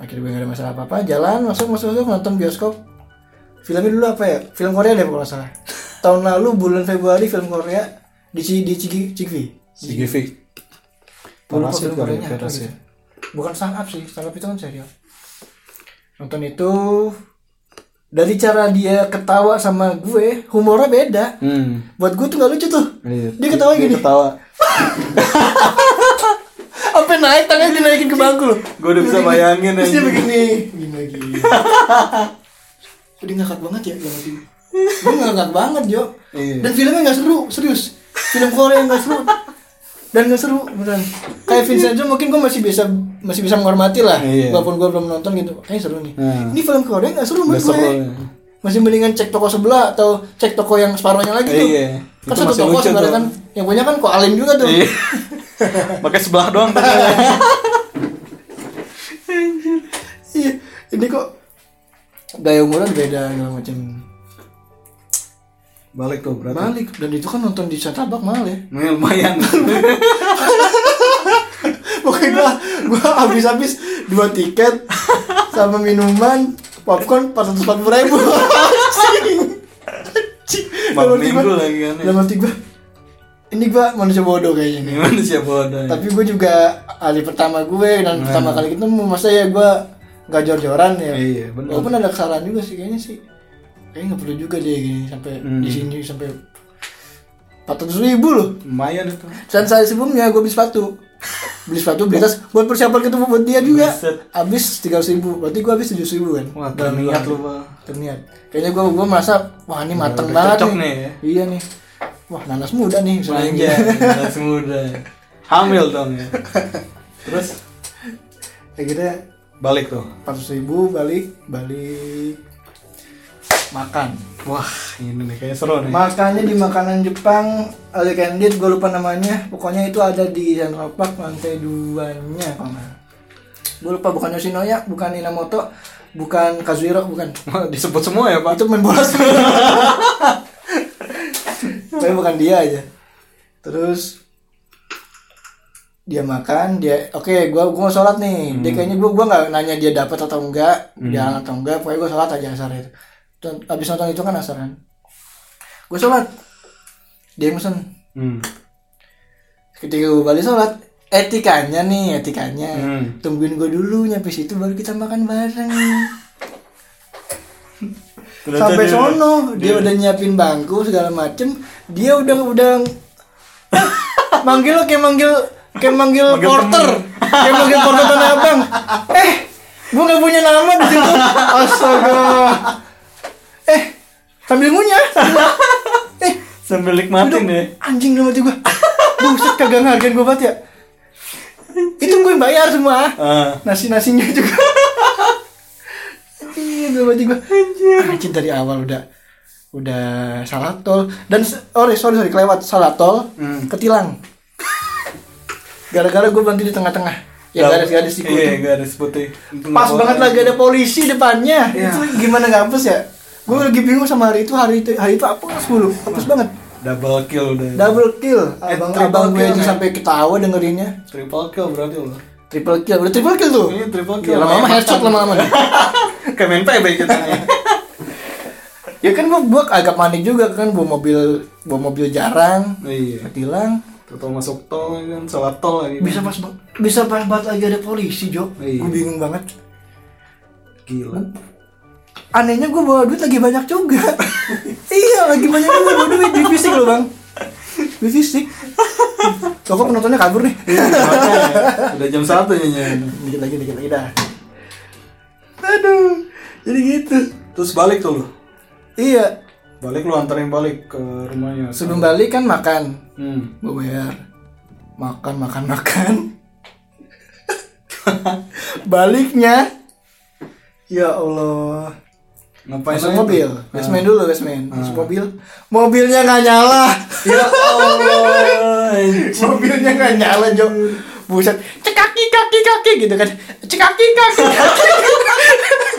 Speaker 2: parkir gue nggak ada masalah apa apa jalan masuk masuk masuk nonton bioskop filmnya dulu apa ya film Korea deh kalau nggak salah tahun lalu bulan Februari film Korea di C- di Ciki Cikvi
Speaker 1: Si Givi.
Speaker 2: Lupa
Speaker 1: Parasit
Speaker 2: film
Speaker 1: kali
Speaker 2: Koreanya
Speaker 1: ya,
Speaker 2: apa
Speaker 1: parasit.
Speaker 2: gitu. bukan startup sih startup itu kan serial nonton itu dari cara dia ketawa sama gue humornya beda
Speaker 1: Hmm.
Speaker 2: buat gue tuh nggak lucu tuh
Speaker 1: Iya.
Speaker 2: dia ketawa gini
Speaker 1: ketawa.
Speaker 2: sampai naik tangannya dinaikin ke bangku loh
Speaker 1: Gua udah bisa bayangin
Speaker 2: terus dia
Speaker 1: anjing.
Speaker 2: begini begini lagi Kok dia ngakak banget ya yang itu Dia ngakak banget Jo
Speaker 1: Iya.
Speaker 2: Dan filmnya gak seru, serius Film Korea yang gak seru Dan gak seru, beneran Kayak Vincent Jo mungkin gue masih bisa masih bisa menghormati lah
Speaker 1: Iya.
Speaker 2: Walaupun gue belum nonton gitu, kayaknya seru nih
Speaker 1: Nah.
Speaker 2: Ini film Korea gak seru menurut
Speaker 1: Nggak seru,
Speaker 2: gue
Speaker 1: ya.
Speaker 2: Masih mendingan cek toko sebelah atau cek toko yang separohnya lagi tuh
Speaker 1: Iya.
Speaker 2: Kan
Speaker 1: Itu
Speaker 2: satu
Speaker 1: masih
Speaker 2: toko
Speaker 1: lucu
Speaker 2: sebenarnya
Speaker 1: tuh.
Speaker 2: kan Yang punya kan kok alim juga tuh
Speaker 1: Iya. Pakai sebelah doang tadi.
Speaker 2: Iya, ini kok gaya umuran beda segala macam.
Speaker 1: Balik tuh berarti.
Speaker 2: Balik dan itu kan nonton di Citabak mahal ya.
Speaker 1: Nah, lumayan.
Speaker 2: Pokoknya gua gua habis-habis dua tiket sama minuman popcorn 440 ribu.
Speaker 1: Malam minggu lagi kan. ya.
Speaker 2: Dalam hati gua ini gua manusia bodoh kayaknya nih.
Speaker 1: Gimana sih ya? bodoh?
Speaker 2: Tapi gue juga ahli pertama gue dan pertama kali ketemu masa ya gue gak jor-joran ya.
Speaker 1: Iya, benar.
Speaker 2: Walaupun ada kesalahan juga sih kayaknya sih. Kayaknya nggak perlu juga deh gini sampai
Speaker 1: Hmm.
Speaker 2: di sini sampai 400 ribu loh.
Speaker 1: Lumayan itu.
Speaker 2: Dan sehari sebelumnya gue beli sepatu beli sepatu beli tas buat persiapan ketemu buat dia juga
Speaker 1: Buset.
Speaker 2: habis tiga ribu berarti gue habis tujuh ribu kan
Speaker 1: Wah,
Speaker 2: Dalam
Speaker 1: terniat
Speaker 2: dua hari.
Speaker 1: lu, Bang.
Speaker 2: terniat kayaknya gue gue merasa wah ini mateng
Speaker 1: udah
Speaker 2: banget
Speaker 1: cocok
Speaker 2: nih.
Speaker 1: nih ya.
Speaker 2: iya nih wah nanas muda nih misalnya
Speaker 1: Manja, jelas muda. ya. Hamil dong ya. Terus
Speaker 2: akhirnya
Speaker 1: balik tuh.
Speaker 2: 400 ribu balik balik makan
Speaker 1: Wah, ini nih kayak seru nih.
Speaker 2: makannya di makanan Jepang ada candid gue lupa namanya pokoknya itu ada di Central Park lantai duanya gue lupa bukan Yoshinoya bukan Inamoto bukan Kazuhiro bukan
Speaker 1: Wah, disebut semua ya, Pak.
Speaker 2: itu main bola semua. tapi bukan dia aja terus dia makan dia oke gua gua mau sholat nih dia kayaknya gua gua nggak nanya dia dapat atau enggak jalan atau enggak pokoknya gua sholat aja asar itu Dan abis nonton itu kan asar kan gua sholat dia pesen
Speaker 1: Hmm.
Speaker 2: ketika gua balik sholat etikanya nih etikanya
Speaker 1: Hmm.
Speaker 2: tungguin gua dulu nyampe situ baru kita makan bareng sampai sono dia udah nyiapin bangku segala macem dia udah udah manggil lo kayak manggil kayak manggil,
Speaker 1: Manggil
Speaker 2: porter kayak manggil porter tanah abang eh gua gak punya nama di situ astaga eh sambil ngunyah eh
Speaker 1: sambil
Speaker 2: Aduh,
Speaker 1: nikmatin ya.
Speaker 2: anjing dalam hati gua buset kagak ngehargain gua banget ya itu gue yang bayar semua
Speaker 1: Ah.
Speaker 2: nasi-nasinya juga Iya, dalam hati gue anjir Ah, dari awal udah udah salah tol dan se- oh sorry sorry kelewat salah tol
Speaker 1: Hmm.
Speaker 2: ketilang gara-gara gue berhenti di tengah-tengah ya garis-garis di
Speaker 1: Iya, garis putih.
Speaker 2: pas banget lagi ada polisi depannya
Speaker 1: Iya.
Speaker 2: itu gimana ngampus ya gue lagi bingung sama hari itu hari itu hari itu apa 10 hapus banget
Speaker 1: double kill udah.
Speaker 2: double kill
Speaker 1: Eh,
Speaker 2: abang
Speaker 1: triple
Speaker 2: abang gue
Speaker 1: kill,
Speaker 2: aja
Speaker 1: men.
Speaker 2: sampai ketawa dengerinnya
Speaker 1: triple kill berarti lo.
Speaker 2: triple kill udah triple kill tuh
Speaker 1: Iya, triple kill.
Speaker 2: Iya, lama-lama headshot lama-lama
Speaker 1: Kayak main PB kita.
Speaker 2: ya kan gua, gua agak panik juga kan bawa mobil bawa mobil jarang
Speaker 1: Iya.
Speaker 2: ketilang
Speaker 1: Atau masuk tol kan, salah tol lagi.
Speaker 2: bisa pas ba- bisa pas banget lagi ada polisi Jo
Speaker 1: Iya.
Speaker 2: gua bingung banget
Speaker 1: gila.
Speaker 2: anehnya gua bawa duit lagi banyak juga iya lagi banyak juga bawa duit duit fisik loh bang duit fisik Loh, kok penontonnya kabur nih
Speaker 1: Udah jam satu nyanyi.
Speaker 2: Iya, dikit lagi dikit lagi dah aduh jadi gitu
Speaker 1: Terus balik tuh lo.
Speaker 2: iya
Speaker 1: Balik lu anterin balik ke rumahnya.
Speaker 2: sebelum balik kan makan
Speaker 1: Hmm.
Speaker 2: gue bayar makan makan makan baliknya ya Allah
Speaker 1: Ngapain
Speaker 2: masuk
Speaker 1: lagi
Speaker 2: mobil
Speaker 1: tuh? Nah.
Speaker 2: basement dulu basement masuk mobil mobilnya nggak nyala
Speaker 1: Ya Allah. anjing.
Speaker 2: mobilnya nggak nyala Jo buset cekaki kaki kaki gitu kan cekaki kaki kaki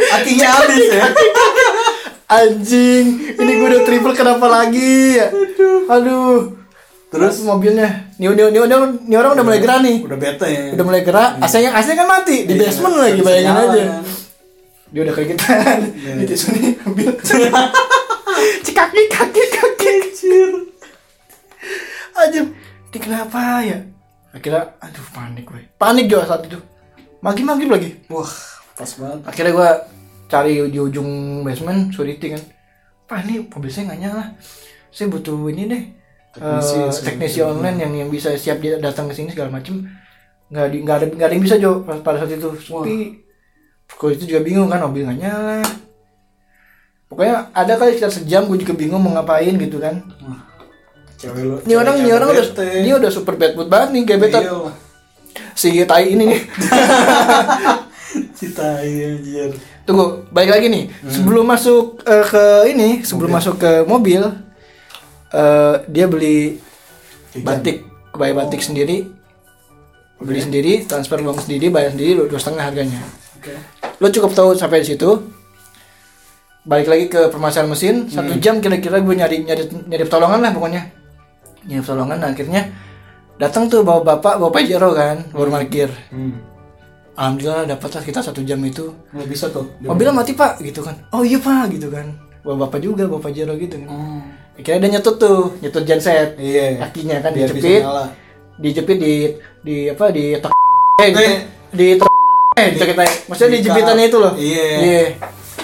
Speaker 1: Akinya habis ya.
Speaker 2: anjing ini gue udah triple kenapa lagi ya aduh
Speaker 1: Terus? Iya.
Speaker 2: terus mobilnya nih nih nih nih orang udah mulai gerah nih
Speaker 1: Udah bete ya. Iya.
Speaker 2: udah mulai gerak AC-nya AC kan mati di basement lagi bayangin aja dia udah keringetan di tisu nih ambil cikaki kaki kaki kecil aja ini kenapa ya akhirnya aduh panik gue panik juga saat itu makin makin lagi
Speaker 1: Wah, pas banget.
Speaker 2: akhirnya gue cari di ujung basement security kan pak ini mobil saya nggak nyala saya butuh ini deh
Speaker 1: Teknisi,
Speaker 2: eh,
Speaker 1: security.
Speaker 2: teknisi online yang yang bisa siap dia datang ke sini segala macem nggak di nggak ada nggak ada yang bisa Jo pas- pada saat itu sepi Kau itu juga bingung kan mobil nggak nyala pokoknya ada kali sekitar sejam gue juga bingung mau ngapain gitu kan
Speaker 1: cewek lu
Speaker 2: ini orang ini
Speaker 1: ceweknya
Speaker 2: orang udah
Speaker 1: bete.
Speaker 2: ini udah super bad mood banget nih gebetan
Speaker 1: Iya lah.
Speaker 2: si tai ini nih
Speaker 1: Cita iya anjir.
Speaker 2: Tunggu, balik lagi nih. Sebelum masuk eh, ke ini, sebelum masuk ke mobil, eh, dia beli batik, buy batik sendiri, beli sendiri, transfer uang sendiri, bayar sendiri dua dua setengah harganya.
Speaker 1: Oke.
Speaker 2: Lo cukup tahu sampai di situ. Balik lagi ke permasalahan mesin, satu jam kira-kira gue nyari nyari nyari pertolongan lah pokoknya. Nyari pertolongan, nah, akhirnya datang tuh bawa bapak, bawa Pajero kan, baru parkir.
Speaker 1: Hmm.
Speaker 2: Alhamdulillah dapatlah kita satu jam itu
Speaker 1: Nggak bisa tuh. dia-
Speaker 2: mobilnya mati pak gitu kan oh iya pak gitu kan bapak bapak juga bapak jero gitu kan
Speaker 1: Hmm.
Speaker 2: akhirnya dia nyetut tuh nyetut genset
Speaker 1: Iya.
Speaker 2: kakinya kan
Speaker 1: Biar
Speaker 2: dijepit
Speaker 1: bisa nyala.
Speaker 2: dijepit di di apa di tok eh di, di tok eh di tok- maksudnya di
Speaker 1: di
Speaker 2: jepitannya
Speaker 1: kap.
Speaker 2: itu loh
Speaker 1: Iya.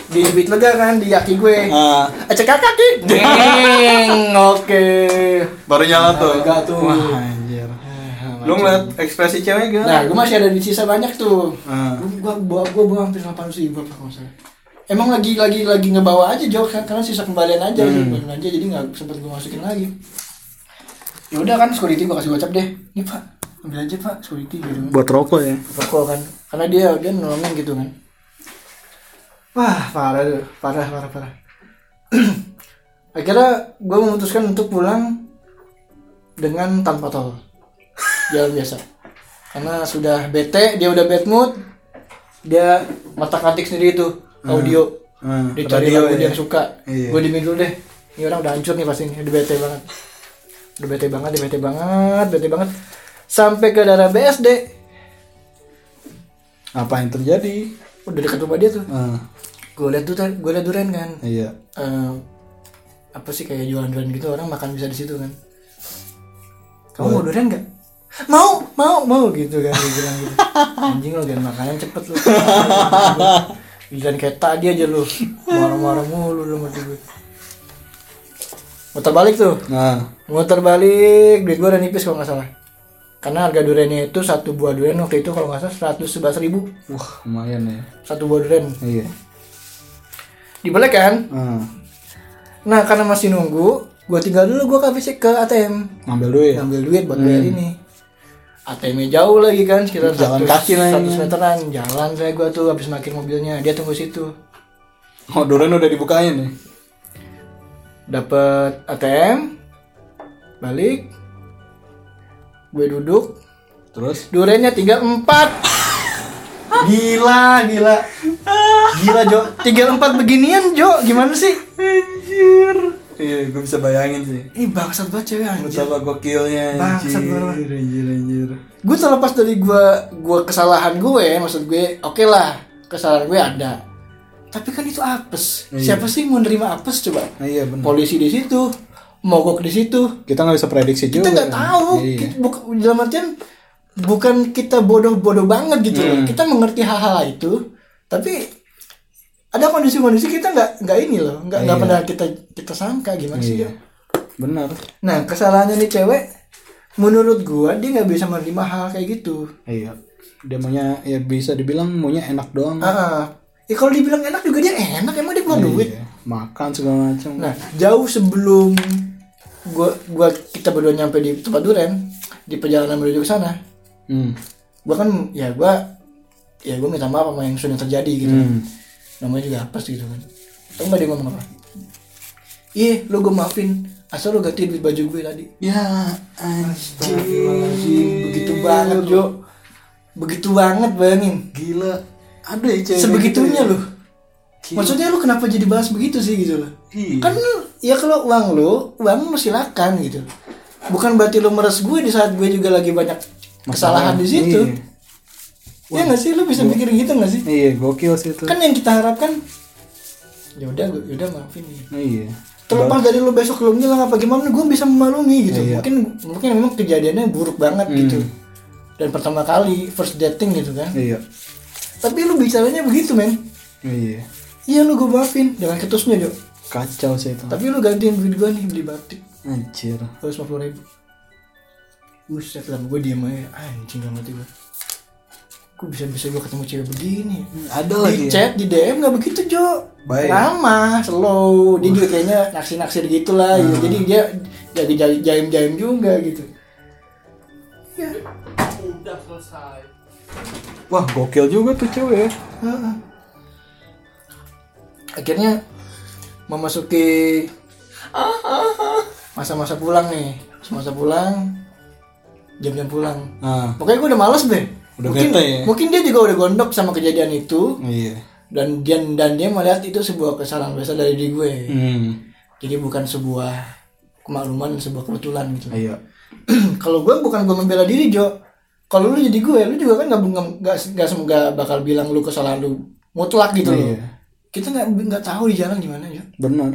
Speaker 2: dijepit lega kan di kaki gue
Speaker 1: Ah,
Speaker 2: acak kaki Ding. oke
Speaker 1: baru nyala Nah, tuh.
Speaker 2: Lega tuh.
Speaker 1: Wah, anjir. Lu ngeliat ekspresi cewek gak?
Speaker 2: nah gue masih ada di sisa banyak tuh
Speaker 1: Ah.
Speaker 2: Gue gua bawa gua bawa hampir 800 ribu apa kalau nggak salah. Emang lagi lagi lagi ngebawa aja jauh karena sisa kembalian aja, kembalian aja jadi nggak sempat gue masukin lagi. Ya udah kan security gue kasih gocap deh. Nih pak, ambil aja pak security gitu. kan.
Speaker 1: Buat rokok ya.
Speaker 2: Rokok kan, karena dia dia nolongin gitu kan. Wah parah tuh, parah parah parah. Akhirnya gue memutuskan untuk pulang dengan tanpa tol jalan biasa karena sudah bete dia udah bad mood dia mata kantik sendiri itu audio
Speaker 1: Hmm,
Speaker 2: dia cari
Speaker 1: radio
Speaker 2: lagu dia
Speaker 1: ya.
Speaker 2: yang suka
Speaker 1: Iya.
Speaker 2: gue dimin dulu deh ini orang udah hancur nih pasti nih udah bete banget udah bete banget udah bete banget bete banget sampai ke daerah BSD
Speaker 1: Apa yang terjadi?
Speaker 2: udah dekat rumah dia tuh
Speaker 1: Ah,
Speaker 2: gue liat tuh gue liat duren kan
Speaker 1: iya.
Speaker 2: Eh, apa sih kayak jualan duren gitu orang makan bisa di situ kan kamu mau duren nggak mau mau mau gitu kan dia bilang gitu anjing lo jangan makanan cepet lo jangan kayak tadi aja lo marah-marah mulu lo mati gue muter balik tuh
Speaker 1: Nah,
Speaker 2: muter balik duit gue udah nipis kalau nggak salah karena harga durennya itu satu buah duren waktu itu kalau nggak salah 111.000 ribu
Speaker 1: wah lumayan ya.
Speaker 2: satu buah duren
Speaker 1: Iya.
Speaker 2: dibalik kan
Speaker 1: Ah,
Speaker 2: Nah karena masih nunggu, gue tinggal dulu gue ke fisik ke ATM
Speaker 1: ngambil duit.
Speaker 2: ngambil duit buat bayar ini. ATM-nya jauh lagi kan sekitar
Speaker 1: Jalan
Speaker 2: 100
Speaker 1: kaki lah ini.
Speaker 2: 100 meteran jalan saya gue tuh habis parkir mobilnya dia tunggu situ
Speaker 1: Oh, durian udah dibukain nih.
Speaker 2: dapat ATM balik gue duduk
Speaker 1: Terus?
Speaker 2: durennya tinggal empat gila gila gila Jo tinggal empat beginian Jo gimana sih
Speaker 1: Anjir. Iya, gue bisa bayangin sih.
Speaker 2: ini bangsat banget cewek anjir
Speaker 1: Betapa gokilnya anjir.
Speaker 2: Bangsat, bener-bener.
Speaker 1: Anjir, anjir.
Speaker 2: gue terlepas dari gue gue kesalahan gue maksud gue oke lah kesalahan gue ada tapi kan itu apes
Speaker 1: Iya.
Speaker 2: siapa sih mau nerima apes coba
Speaker 1: Nah, iya benar.
Speaker 2: polisi di situ mogok di situ
Speaker 1: Kita nggak bisa prediksi juga.
Speaker 2: kita nggak tahu
Speaker 1: Iya.
Speaker 2: Kita buk- dalam artian bukan kita bodoh-bodoh banget gitu
Speaker 1: Iya.
Speaker 2: loh kita mengerti hal-hal itu tapi ada kondisi-kondisi kita nggak nggak ini loh nggak nggak
Speaker 1: Iya.
Speaker 2: pernah kita kita sangka gimana sih
Speaker 1: Iya.
Speaker 2: ya
Speaker 1: Benar.
Speaker 2: nah kesalahannya nih cewek menurut gua dia nggak bisa menerima hal kayak gitu
Speaker 1: Iya. Dia maunya ya bisa dibilang maunya enak doang.
Speaker 2: Ah, ya kalau dibilang enak juga dia enak emang dia keluar duit.
Speaker 1: Iya. Makan segala macam.
Speaker 2: Nah, jauh sebelum gua gua kita berdua nyampe di tempat duren di perjalanan menuju ke sana,
Speaker 1: Hmm.
Speaker 2: gua kan ya gua ya gua minta maaf sama yang sudah terjadi gitu.
Speaker 1: Hmm.
Speaker 2: Namanya juga apa sih gitu kan. Tau nggak dia ngomong apa? Iya, lu gua maafin. Asal lu ganti duit baju gue tadi.
Speaker 1: Ya
Speaker 2: Astagfirullahaladzim, begitu banget, Jo. Begitu banget bayangin.
Speaker 1: Gila. Ada ya cewek.
Speaker 2: Sebegitunya
Speaker 1: gitu ya?
Speaker 2: loh. Maksudnya lu kenapa jadi bahas begitu sih gitu loh?
Speaker 1: Iya.
Speaker 2: Kan lu- ya kalau uang lu, uang lu silakan gitu. Bukan berarti lu meres gue di saat gue juga lagi banyak
Speaker 1: Kan
Speaker 2: kesalahan di situ. Ya nggak sih lu bisa mikir gitu nggak sih?
Speaker 1: Iya. Iya, gokil sih itu.
Speaker 2: Kan yang kita harapkan ya udah gue ya udah maafin ya.
Speaker 1: Iya.
Speaker 2: Terlepas dari lu besok lu ngilang apa gimana gue bisa memaklumi gitu.
Speaker 1: Iya. Hmm.
Speaker 2: Mungkin mungkin memang kejadiannya buruk banget gitu. Dan pertama kali first dating gitu kan.
Speaker 1: Iya.
Speaker 2: Tapi lu bicaranya begitu, men.
Speaker 1: Iya.
Speaker 2: Iya lu gue maafin dengan ketusnya, Jo.
Speaker 1: Hmm. Kacau sih itu.
Speaker 2: Tapi lu gantiin duit gue nih beli batik
Speaker 1: Anjir.
Speaker 2: harus lima puluh ribu buset lah gue diem aja anjing gak mati gue kok bisa bisa gue ketemu cewek begini
Speaker 1: ada
Speaker 2: di
Speaker 1: lagi ya?
Speaker 2: chat di DM nggak begitu Jo
Speaker 1: Baik.
Speaker 2: lama slow dia juga kayaknya naksir naksir gitulah gitu.
Speaker 1: Hmm.
Speaker 2: jadi dia jadi jai- jaim-jaim juga gitu ya
Speaker 1: wah gokil juga tuh cewek ya.
Speaker 2: Heeh. akhirnya memasuki masa-masa pulang nih masa pulang jam-jam pulang
Speaker 1: nah
Speaker 2: pokoknya gue udah males deh
Speaker 1: Udah
Speaker 2: mungkin
Speaker 1: bete ya?
Speaker 2: mungkin dia juga udah gondok sama kejadian itu
Speaker 1: iya
Speaker 2: dan dia dan dia melihat itu sebuah kesalahan besar dari diri gue
Speaker 1: hmm
Speaker 2: jadi bukan sebuah kemakluman sebuah kebetulan gitu
Speaker 1: iya
Speaker 2: kalau gue bukan gue membela diri Jo kalau lu jadi gue lu juga kan nggak nggak- nggak nggak semoga bakal bilang lu kesalahan lu mutlak gitu loh
Speaker 1: Iya.
Speaker 2: kita nggak nggak tahu di jalan gimana Jo
Speaker 1: benar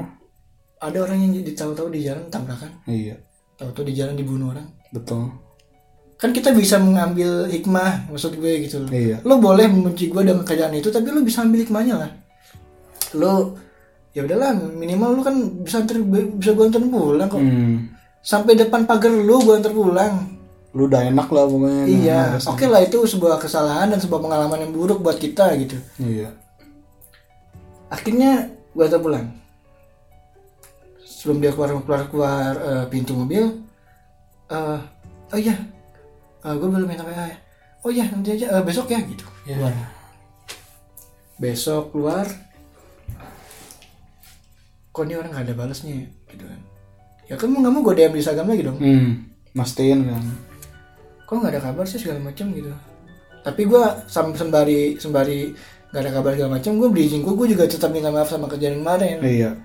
Speaker 2: ada orang yang di- tahu-tahu di jalan tabrakan
Speaker 1: iya
Speaker 2: tahu-tahu di jalan dibunuh orang
Speaker 1: betul
Speaker 2: kan kita bisa mengambil hikmah maksud gue gitu loh
Speaker 1: Iya.
Speaker 2: lo boleh membenci gue dengan kerjaan itu tapi lo bisa ambil hikmahnya lah lo ya udahlah minimal lo kan bisa antar bisa gue antar pulang kok
Speaker 1: hmm
Speaker 2: sampai depan pagar lo gue antar pulang
Speaker 1: lu udah enak lah pokoknya
Speaker 2: Iya,
Speaker 1: Oh.
Speaker 2: oke lah itu sebuah kesalahan dan sebuah pengalaman yang buruk buat kita gitu.
Speaker 1: iya
Speaker 2: Akhirnya gue antar pulang. Sebelum dia keluar keluar keluar eh, pintu mobil, eh, oh iya, gue belum minta WA. ya. Oh iya nanti aja eh, besok ya gitu.
Speaker 1: Iya.
Speaker 2: Keluar. Besok keluar. Kok ini orang gak ada balasnya ya? gitu kan? Ya kan mau nggak mau gue DM di Instagram lagi dong.
Speaker 1: hmm mastiin kan
Speaker 2: kok nggak ada kabar sih segala macam gitu tapi gue sembari sembari nggak ada kabar segala macam gue bridging gue gue juga tetap minta maaf sama kejadian kemarin
Speaker 1: iya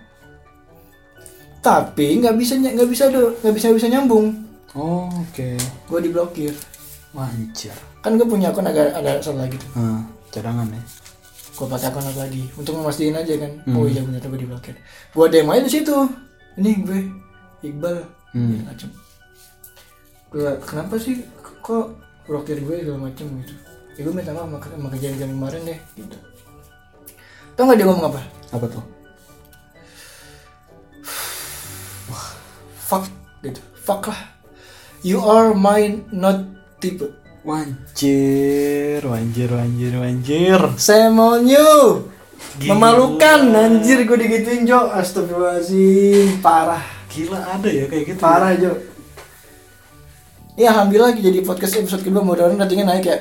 Speaker 2: tapi nggak bisa ny- nggak bisa do nggak bisa bisa nyambung
Speaker 1: oh, oke
Speaker 2: gue diblokir
Speaker 1: wah anjir
Speaker 2: kan gue punya akun agak ada satu lagi tuh
Speaker 1: nah, cadangan ya
Speaker 2: gue pakai akun apa lagi untuk memastikan aja kan oh iya benar gue diblokir gue dm aja di situ ini gue iqbal
Speaker 1: Hmm.
Speaker 2: segala macam gue kenapa sih kok blokir gue segala macam gitu ya gue minta maaf sama, ke- sama kejadian kemarin deh gitu tau gak dia ngomong apa
Speaker 1: apa tuh
Speaker 2: fuck gitu fuck lah you are mine not tipe
Speaker 1: Wanjir, wanjir, wanjir, wanjir.
Speaker 2: Shame on you memalukan anjir gue digituin Jo astagfirullahaladzim parah
Speaker 1: Gila ada ya kayak gitu.
Speaker 2: Parah Jo. Ya alhamdulillah jadi podcast episode kedua mudah-mudahan ratingnya naik ya.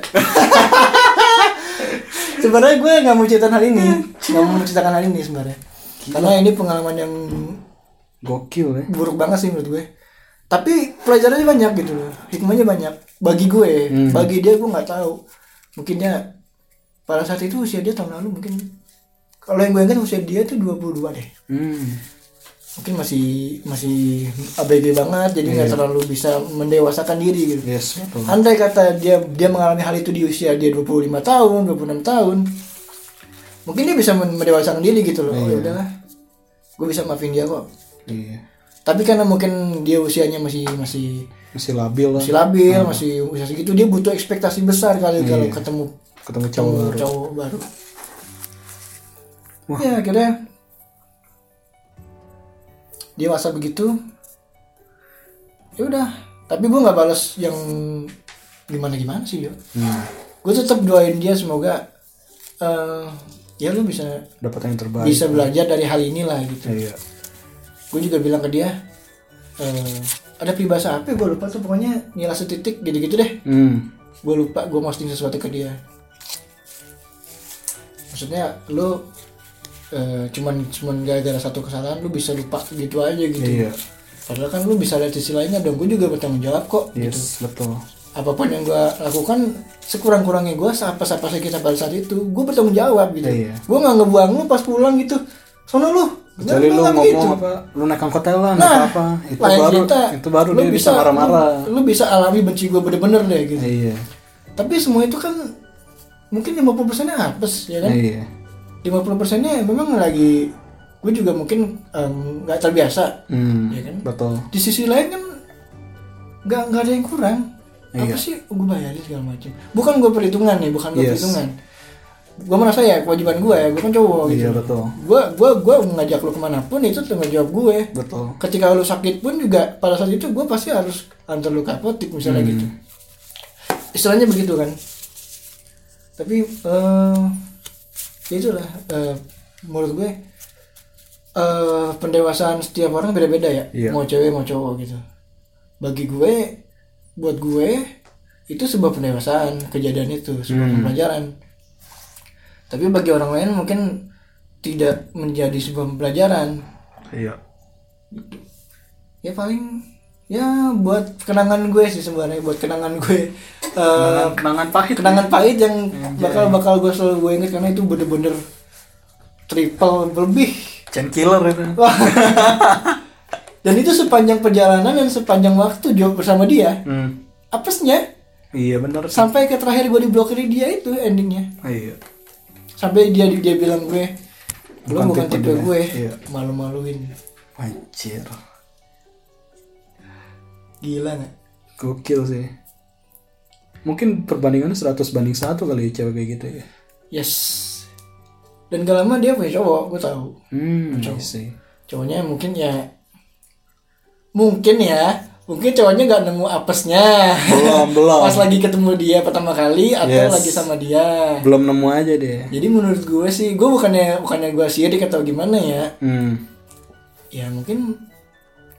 Speaker 2: sebenarnya gue nggak mau ceritakan hal ini, nggak mau menceritakan hal ini sebenarnya. Karena ini pengalaman yang
Speaker 1: Gokil ya.
Speaker 2: buruk banget sih menurut gue. Tapi pelajarannya banyak gitu loh, hikmahnya banyak. Bagi gue,
Speaker 1: Hmm.
Speaker 2: bagi dia gue nggak tahu. Mungkin dia pada saat itu usia dia tahun lalu mungkin kalau yang gue ingat usia dia tuh 22 deh
Speaker 1: Hmm.
Speaker 2: mungkin masih masih ABG banget jadi nggak terlalu bisa mendewasakan diri gitu.
Speaker 1: Yes, betul.
Speaker 2: Andai kata dia dia mengalami hal itu di usia dia 25 tahun, 26 tahun. Mungkin dia bisa men- mendewasakan diri gitu loh. Oh, ya udahlah. Gue bisa maafin dia kok.
Speaker 1: Iya.
Speaker 2: Tapi karena mungkin dia usianya masih masih
Speaker 1: Masih labil lah.
Speaker 2: masih labil,
Speaker 1: Hmm.
Speaker 2: masih usia segitu dia butuh ekspektasi besar kali kalau ketemu
Speaker 1: Ketemu Iya. cowok
Speaker 2: cowok
Speaker 1: baru.
Speaker 2: cowok baru.
Speaker 1: Wah.
Speaker 2: Ya akhirnya dia WhatsApp begitu. Ya udah, tapi gue nggak balas yang gimana gimana sih yo.
Speaker 1: Nah,
Speaker 2: Gue tetap doain dia semoga eh, ya lu bisa
Speaker 1: dapat yang terbaik.
Speaker 2: bisa belajar dari hal inilah gitu.
Speaker 1: Iya.
Speaker 2: Gue juga bilang ke dia eh, ada peribahasa apa gue lupa tuh pokoknya nilai setitik gitu-gitu deh
Speaker 1: Hmm.
Speaker 2: gue lupa gue posting sesuatu ke dia maksudnya lu eh, cuman cuman gara-gara satu kesalahan lu bisa lupa gitu aja gitu
Speaker 1: Iya.
Speaker 2: padahal kan lu bisa lihat sisi lainnya dong gue juga bertanggung jawab kok gitu
Speaker 1: Yes, betul.
Speaker 2: apapun yang gue lakukan sekurang-kurangnya gue apa apa sih kita pada saat itu gue bertanggung jawab gitu
Speaker 1: Iya.
Speaker 2: gue nggak ngebuang lu pas pulang gitu sono lu gitu. Nggak,
Speaker 1: Kecuali
Speaker 2: lu
Speaker 1: lu
Speaker 2: nggak
Speaker 1: ngomong
Speaker 2: begitu.
Speaker 1: apa, lu naik angkot aja lah,
Speaker 2: nah
Speaker 1: nah, apa, itu
Speaker 2: lain
Speaker 1: baru,
Speaker 2: cerita,
Speaker 1: itu baru
Speaker 2: lu
Speaker 1: dia bisa marah-marah.
Speaker 2: lu, lu bisa alami benci gue bener-bener deh gitu
Speaker 1: Iya,
Speaker 2: tapi semua itu kan mungkin 50 persennya apes ya kan
Speaker 1: iya,
Speaker 2: 50 persennya memang lagi gue juga mungkin em, nggak terbiasa
Speaker 1: hmm,
Speaker 2: Iya kan?
Speaker 1: betul.
Speaker 2: di sisi lain kan nggak nggak ada yang kurang
Speaker 1: Iya.
Speaker 2: apa sih gue bayarin segala macam bukan gue perhitungan nih bukan gue
Speaker 1: Yes.
Speaker 2: perhitungan gue merasa ya kewajiban gue ya gue kan cowok gitu
Speaker 1: Iya, betul.
Speaker 2: gue gue gue ngajak lo kemanapun itu tanggung jawab ya. gue
Speaker 1: Betul.
Speaker 2: ketika lu sakit pun juga pada saat itu gue pasti harus
Speaker 1: Hmm.
Speaker 2: gitu. antar lu ke apotik misalnya gitu istilahnya begitu kan tapi eh ya itulah eh, menurut gue eh pendewasaan setiap orang beda-beda ya
Speaker 1: Iya.
Speaker 2: mau cewek mau cowok gitu bagi gue buat gue itu sebuah pendewasaan kejadian itu sebuah pembelajaran tapi bagi orang lain mungkin tidak menjadi sebuah pembelajaran
Speaker 1: Iya.
Speaker 2: Eh, ya paling ya buat kenangan gue sih sebenarnya buat kenangan gue eh,
Speaker 1: Kenangan pahit.
Speaker 2: kenangan pahit yang bakal bakal gue selalu gue inget karena itu bener-bener triple lebih
Speaker 1: Chain killer itu.
Speaker 2: Wah. dan itu sepanjang perjalanan dan sepanjang waktu dia bersama dia
Speaker 1: Hmm.
Speaker 2: apesnya
Speaker 1: Iya benar. sih.
Speaker 2: sampai ke terakhir gue diblokir dia itu endingnya
Speaker 1: Iya.
Speaker 2: sampai dia dia bilang gue lu
Speaker 1: Bukan
Speaker 2: bukan
Speaker 1: tipe
Speaker 2: tipe
Speaker 1: dia."
Speaker 2: gue
Speaker 1: Iya.
Speaker 2: malu-maluin
Speaker 1: Anjir.
Speaker 2: gila nggak
Speaker 1: Gokil sih. Mungkin perbandingannya 100 banding 1 kali ya, cewek kayak gitu ya.
Speaker 2: yes dan gak lama dia punya cowok gue tahu
Speaker 1: Hmm, I see.
Speaker 2: cowoknya mungkin ya mungkin ya mungkin cowoknya nggak nemu apesnya
Speaker 1: Belum, belum.
Speaker 2: pas lagi ketemu dia pertama kali atau
Speaker 1: Yes.
Speaker 2: lagi sama dia
Speaker 1: Belum nemu aja deh.
Speaker 2: jadi menurut gue sih gue bukannya bukannya gue sirik atau gimana ya
Speaker 1: Hmm.
Speaker 2: ya mungkin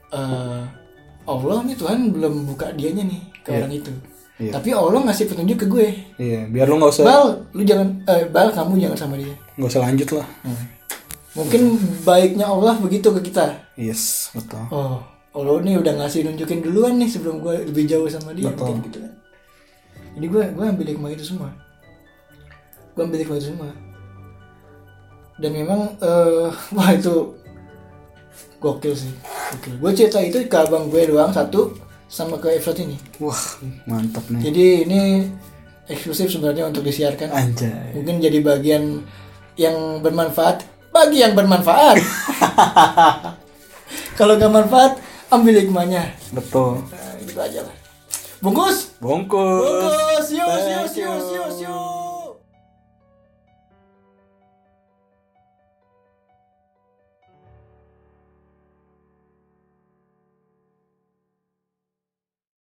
Speaker 2: eh Allah nih Tuhan belum buka dianya nih ke orang itu
Speaker 1: Iya.
Speaker 2: tapi Allah ngasih petunjuk ke gue
Speaker 1: Iya, biar lu nggak usah
Speaker 2: bal lu jangan eh, bal kamu jangan sama dia
Speaker 1: nggak usah lanjut lah.
Speaker 2: Hmm. mungkin
Speaker 1: Iya.
Speaker 2: baiknya Allah begitu ke kita
Speaker 1: Yes, betul.
Speaker 2: oh Allah nih udah ngasih nunjukin duluan nih sebelum gue lebih jauh sama dia
Speaker 1: Betul.
Speaker 2: mungkin gitu kan jadi gue gue ambil hikmah itu semua gue ambil hikmah itu semua dan memang eh wah itu gokil sih gokil gue cerita itu ke abang gue doang satu sama ke episode ini
Speaker 1: Wah, mantap nih.
Speaker 2: jadi ini eksklusif sebenarnya untuk disiarkan
Speaker 1: Anjay.
Speaker 2: mungkin jadi bagian yang bermanfaat bagi yang bermanfaat kalau gak manfaat ambil hikmahnya
Speaker 1: Betul.
Speaker 2: nah, gitu aja lah bungkus
Speaker 1: Bongkos.
Speaker 2: bungkus yus yus yus yus